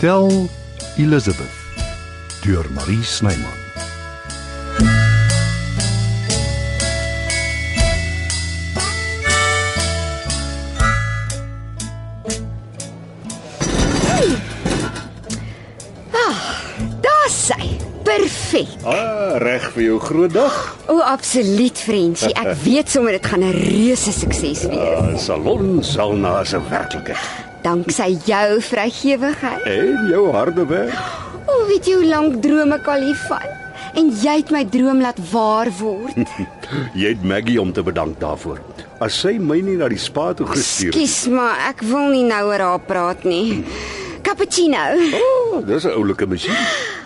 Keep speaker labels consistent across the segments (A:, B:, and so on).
A: Tel Elizabeth deur Marie Snyman.
B: Daar sy. Perfek.
C: Ah, reg vir jou groot dag.
B: O, absoluut vriendjie. Ek weet sommer dit gaan 'n reuse sukses wees.
C: Ah, salon sal na as 'n werklikheid.
B: Danksy jou vrygewigheid.
C: En jou harde werk.
B: O, weet jy hoe lank droom ek al hiervan? En jy het my droom laat waar word.
C: Jy het Maggie om te bedank daarvoor. As sy my nie na die spa toe gestuur het.
B: Skus, maar ek wil nie nou oor haar praat nie. Cappuccino.
C: Oh, dis 'n oulike masjien.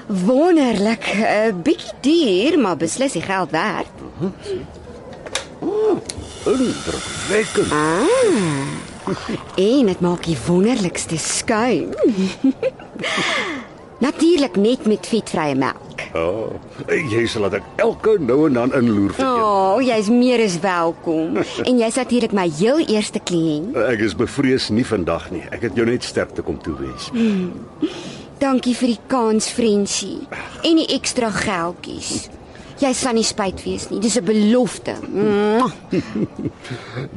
B: Wonderlik. 'n Bietjie duur, maar beslis die geld werd.
C: Indrukwekkend.
B: En dit maak die wonderlikste skuim. Natuurlik net met vetvrye melk.
C: Oh, jy sal laat ek elke nou en dan inloer vir jou.
B: O, oh, jy's meer as welkom. en jy's natuurlik my heel eerste kliënt.
C: Ek is bevrees nie vandag nie. Ek het jou net sterkte kom toewens.
B: Dankie vir die kans, vriendjie, en die ekstra geldjies. Jy sal nie spyt wees nie. Dis 'n belofte. Mwah.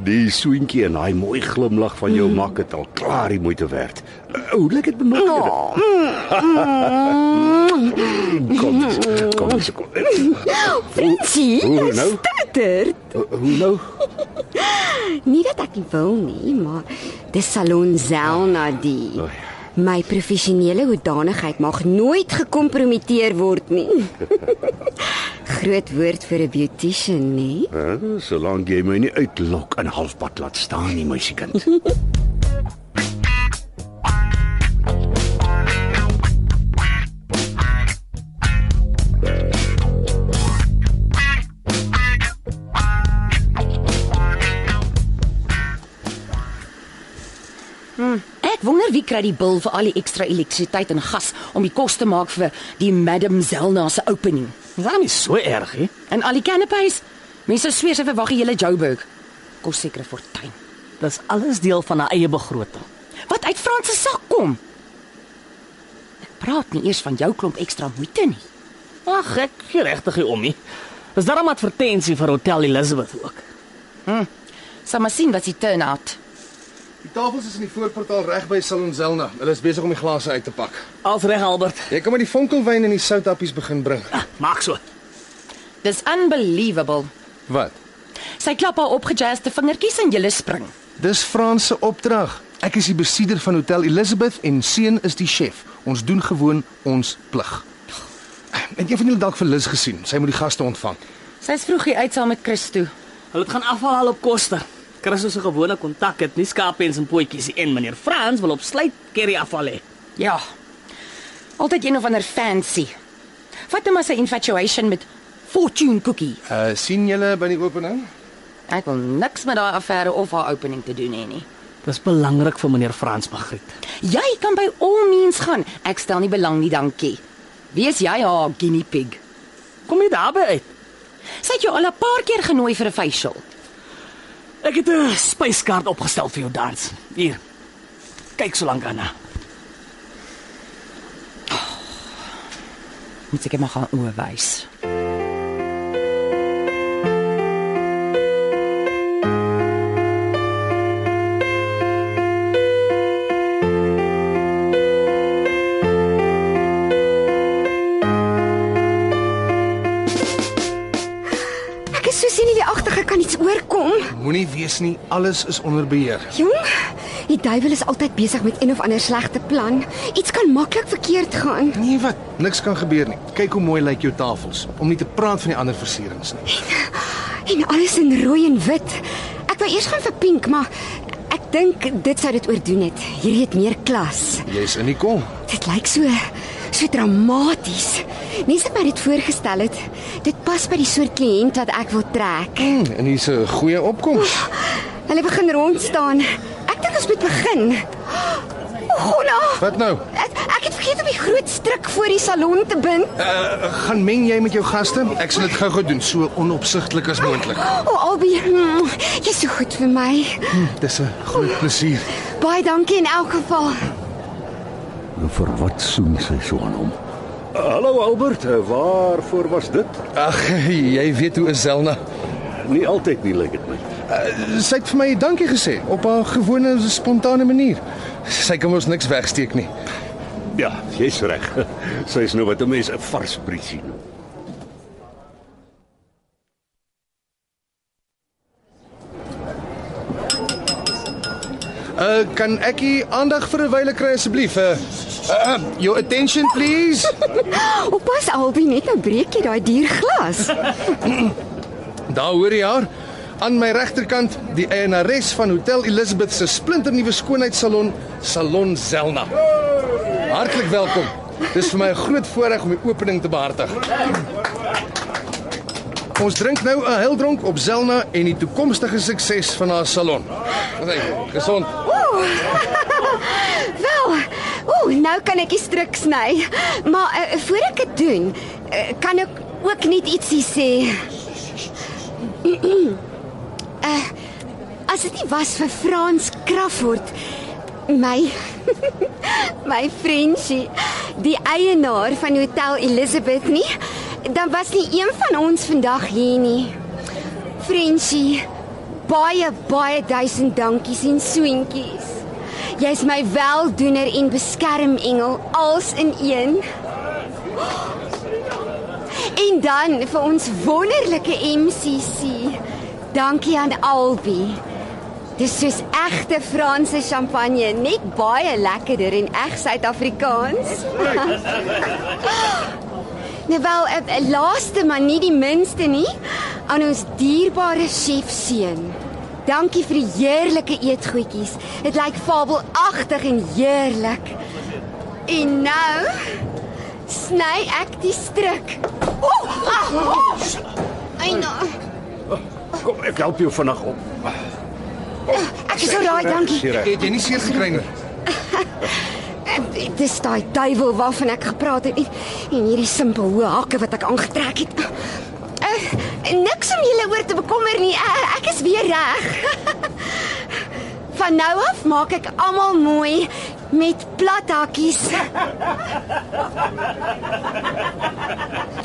C: Die soentjie en daai mooi glimlag van jou maak dit al klaar die moeite werd. O, hoe lyk dit bemaak?
B: Oh,
C: Mm. Kom, eens, kom, eens, kom.
B: vriendjie,
C: Hoe nou?
B: stutter.
C: Hoe nou?
B: Nie dat ek nie wil nie, maar dis Salon Zelna die.
C: Oh,
B: My professionele hoedanigheid mag nooit gekompromiteer word nie. Groot woord vir 'n beautician, nee.
C: Hè, Solank jy my nie uitlok in halfpad laat staan nie, meisiekind.
D: Ek wonder wie kry die bil vir al die ekstra elektrisiteit en gas om die kos te maak vir die Madam Zelna se opening.
E: Dis dan nie so erg nie.
D: En al die canapés. Mense sweer sy verwag die hele Joburg. Kos sekere fortuin.
E: Dis alles deel van haar eie begroting.
D: Wat uit Frans se sak kom. Ek praat nie eers van jou klomp ekstra moeite nie.
E: Ag, ek gee regtig nie om nie. Dis daarom advertensie vir Hotel Elizabeth ook.
D: Sal Hm. maar sien wat se turnout.
F: Die tafels is in die voorportaal reg by Salonzelna. Hulle is besig om die glase uit te pak.
E: Als reg Albert.
F: Jy kan maar die vonkelwyn en die soutappies begin bring.
E: Maak so.
D: Dis unbelievable.
F: Wat?
D: Sy klap haar opgejazzte vingertjies en jy spring.
F: Dis Frans se opdrag. Ek is die besieder van Hotel Elizabeth en seun is die chef. Ons doen gewoon ons plig. Het jy van julle dalk vir Liz gesien? Sy moet die gaste ontvang.
D: Sy's vroeg hier uit saam met Christo.
E: Hulle het gaan afval al op koste. Chris is 'n gewone kontak, het nie skaapens en potjies en meneer Frans wil op sluit kerry afval hê.
D: Ja. Altyd een of ander fancy. Vat net maar sy infatuation met fortune cookie.
F: Uh sien julle by die opening?
D: Ek wil niks met daai affære of haar opening te doen hê nie.
E: Dis belangrik vir meneer Frans Magriet.
D: Jy kan by all means gaan. Ek stel nie belang nie, dankie. Wees jy haar guinea pig.
E: Kom jy daarby uit?
D: Sy het jou al 'n paar keer genooi vir 'n facial.
E: Ek het 'n spyskaart opgestel vir jou dans. Hier. Kyk so lank aan.
D: Moet ek maar gaan oë wys.
B: Ek is so senuweeagtig, ek kan iets oorkom.
F: Moenie wees nie, alles is onder beheer.
B: Jong, die duiwel is altyd besig met een of ander slegte plan. Iets kan maklik verkeerd gaan.
F: Nee wat? Niks kan gebeur nie. Kyk hoe mooi lyk jou tafels. Om nie te praat van die ander versierings nie.
B: En alles in rooi en wit. Ek wou eers gaan vir pink, maar ek dink dit sou dit oordoen het. Hierdie het meer klas.
F: Jy's in die kom.
B: Dit lyk so so dramaties. Nes ek my dit voorgestel het, dit pas by die soort kliënt wat ek wil trek.
F: Hmm, en hier's 'n goeie opkoms.
B: Hulle begin rond staan. Ek dink ons moet begin. O, Gonna,
F: Wat nou?
B: ek, ek het vergeet om die groot stryk voor die salon te bind.
F: Eh, Gaan meng jy met jou gaste? Ek sal dit gou-gou doen, so onopsigtelik as moontlik.
B: O, oh, Albie, mm, jy's so goed vir my.
F: Dis 'n groot plesier.
B: Baie dankie in elk geval.
C: Vir wat soen sy so aan hom? Eh, Hallo Albert, Eh, waarvoor was dit?
F: Ag, jy weet hoe is Zelna.
C: Nie altyd nie lyk dit my.
F: Sy het vir my dankie gesê op haar gewone spontane manier. Sy kan mos niks wegsteek nie.
C: Ja, jy's reg. Sy is nou wat 'n mens 'n vars briesie noem.
F: Uh kan ek u aandag vir 'n wyle kry asseblief? Uh, uh your attention please.
B: Oppas Albie, net nou breek jy daai duur glas.
F: Daar hoor jy haar. Aan my regterkant die eienares van Hotel Elizabeth se splinternuwe skoonheidssalon, Salon Zelna. Hartlik welkom. Dis vir my 'n groot voorreg om die opening te behartig. Ons drink nou 'n heldronk op Zelna en die toekomstige sukses van haar salon. Wat sê jy? Gesond.
B: Wel, ooh, nou kan ek die struik sny. Maar uh, voor ek dit doen, uh, kan ek ook net ietsie sê. uh, as dit nie was vir Frans Kraftwoord, my my vriendjie, die eienaar van Hotel Elizabeth nie, dan was nie een van ons vandag hier nie. Vriendjie, baie baie duisend dankies en soentjies. Jy's my weldoener en beskermengel als in een. En dan vir ons wonderlike MCC. Dankie aan albei. Dis soos egte Franse champagne, net baie lekkerder en eg Suid-Afrikaans. nou wel, 'n laaste maar nie die minste nie, aan ons dierbare chef seun. Dankie vir die heerlike eetgoedjies. Dit lyk fabelagtig en heerlik. En nou sny ek die struik. Ooh! Ah, oh. Ai nou.
C: Kom, ek help jou vinnig op.
B: Ek is so raai, dankie.
C: Hier,
F: Het jy nie seer gekry nie?
B: Eh, Dis daai duiwel waarvan ek gepraat het en, en hierdie simpel hoë hakke wat ek aangetrek het. Uh, niks om julle oor te bekommer nie. Uh, ek is weer reg. Van nou af maak ek almal mooi met plat hakkies.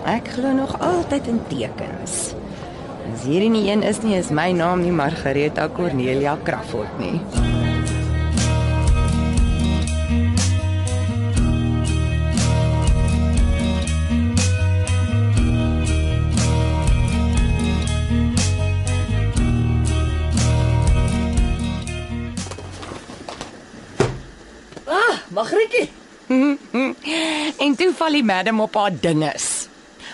D: Ek glo nog altyd in tekens. As hierdie nie een is nie, is my naam nie Margareta Cornelia Kraftwood nie.
G: Ah, Magrietjie.
D: En toe val die madam op haar dinges.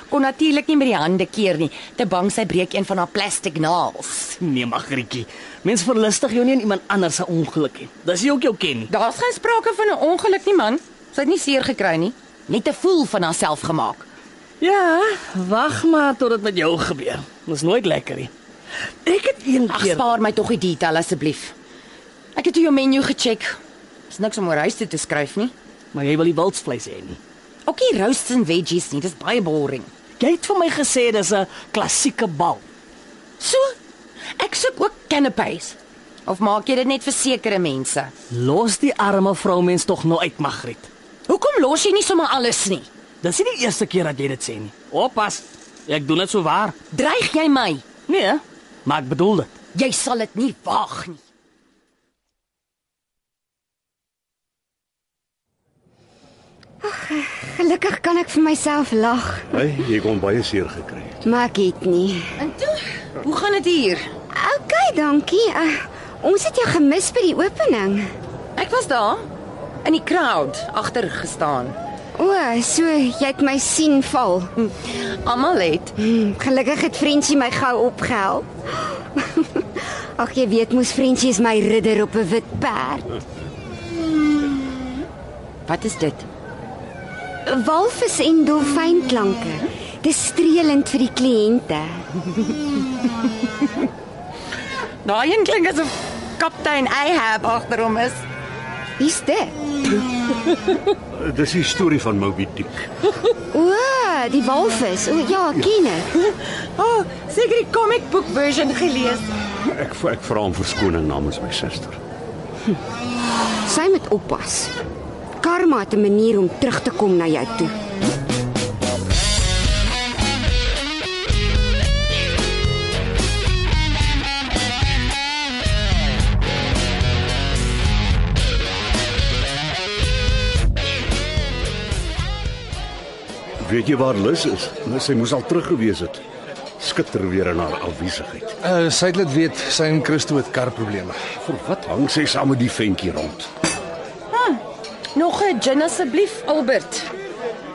D: Kon natuurlik nie met die hande keer nie, te bang sy breek een van haar plastiek naels.
E: Nee, Magrietjie. Mense verlustig jou nie in iemand anders se ongeluk nie. Dis jy ook jou ken. nie.
D: Daar's geen sprake van 'n ongeluk nie, man. Sy het nie seer gekry nie, net 'n voel van haarself gemaak.
E: Ja, wag maar tot dit met jou gebeur. Dis nooit lekker nie. Ek het een
D: Ag,
E: keer
D: spaar my tog die detail asseblief. Ek het toe jou menu gecheck. Is niks om oor huis toe te skryf nie.
E: Maar jy wil die wildsvleis hê nie.
D: Ook nie roasts en veggies nie, dis baie boring.
E: Jy het vir my gesê dis 'n klassieke bal.
D: So, ek soek ook canapés. Of maak jy dit net vir sekere mense?
E: Los die arme vroumens tog nou uit, Magriet.
D: Hoekom los jy nie sommer alles nie?
E: Dis nie die eerste keer dat jy dit sê nie. Oppas. Ek doen dit so waar.
D: Dreig jy my?
E: Nee, hè? maar ek bedoel dit.
D: Jy sal dit nie waag nie.
B: Gelukkig kan ek vir myself lag,
C: Hey, jy kon baie seer gekry.
B: maar ek het nie.
D: En toe, hoe gaan dit hier?
B: OK, dankie. Uh, ons het jou gemis by die opening.
D: Ek was daar in die crowd agter gestaan.
B: O, so jy het my sien val.
D: Almal het.
B: Hmm, gelukkig het Frenchie my gou opgehelp. Ag jy weet mos Frenchie is my ridder op 'n wit perd.
D: Wat is dit?
B: Walvis en dolfynklanke. Dis streelend vir die kliënte.
D: Daai een klink asof kaptein Ahab agter hom is.
B: Wie's dit?
C: Dis die storie van Moby Dick.
B: O, die walvis. O ja, ken ek.
D: O, oh, seker die comic book version gelees.
C: Ek ek vra om verskoning namens my suster.
B: Sy moet oppas. Karma het 'n manier om terug te kom na jou toe.
C: Weet jy waar Lis is? Nou, sy moes al terug gewees het. Skitter weer in haar afwesigheid.
F: Uh, sy het dit weet, sy en Christo het karprobleme.
C: Vir wat hang sy saam met die ventjie rond?
D: Nog 'n gin asseblief, Albert.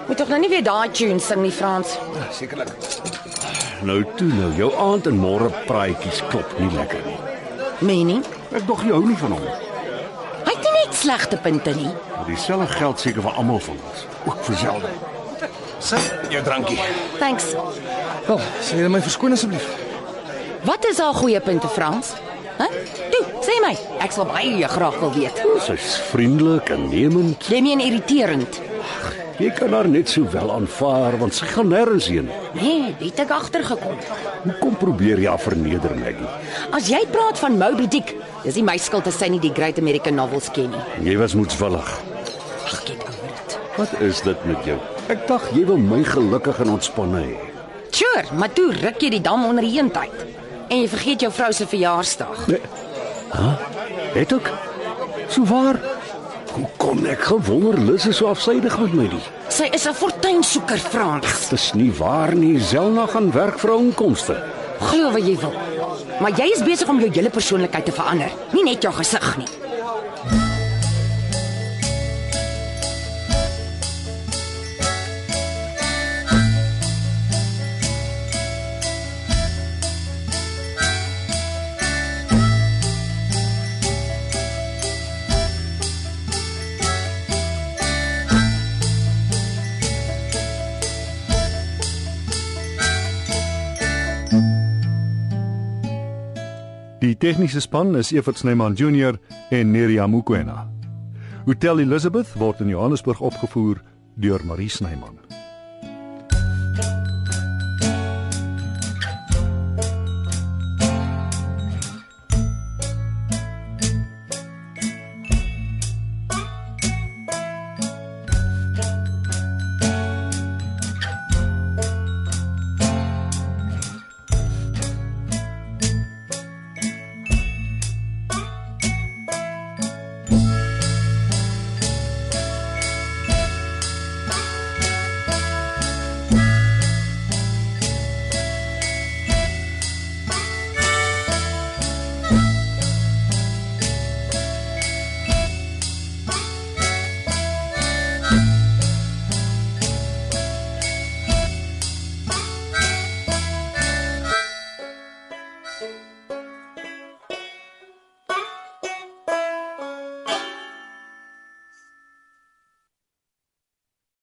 D: Moet tog nou nie weer daai tune sing nie, Frans.
F: Sekerlik.
C: Nou toe nou, jou aand en môre praatjies klop nie lekker nie.
D: Meenie,
C: Ek dog jy hou nie van hom.
D: hy het nie net slegte punte nie.
C: Maar Dieselfde geld seker vir almal van ons, ook vir Zelda.
F: Sit jou drankie.
D: Thanks.
F: Wel, sê jy my verskoon asseblief.
D: Wat is haar goeie punte, Frans? Hæ? Toe, sê my. Ek sal baie graag wil weet.
C: Sy's vriendelik en nemend.
D: Jy meen irriterend.
C: Jy kan haar net so wel aanvaar want sy gaan nêrens heen.
D: Nee, dit ek agtergekom.
C: Hoekom probeer jy haar verneder, Maggie?
D: As jy praat van Moby Dick, dis nie my skuld as sy nie die Great American Novels ken nie.
C: Jy was moedswillig.
D: Ag, get oor dit.
C: Wat is dit met jou? Ek dacht jy wil my gelukkig en ontspanne hê.
D: Sure, maar toe ruk jy die dam onder die eentyd. En jy vergeet jou vrou se verjaarsdag.
C: Het ek? Sou waar? Hoe kom ek gewonder Lis is so afsydig met my nie?
D: Sy is 'n fortuinsoeker, Frans.
C: Dis nie waar nie. Zelna gaan werk vir haar inkomste.
D: Glo wat jy wil. Maar jy is besig om jou hele persoonlikheid te verander, nie net jou gesig nie.
H: Die tegniese span is Evert Snyman Junior en Neriya Mukwena. Hotel Elizabeth word in Johannesburg opgevoer deur Marie Snyman.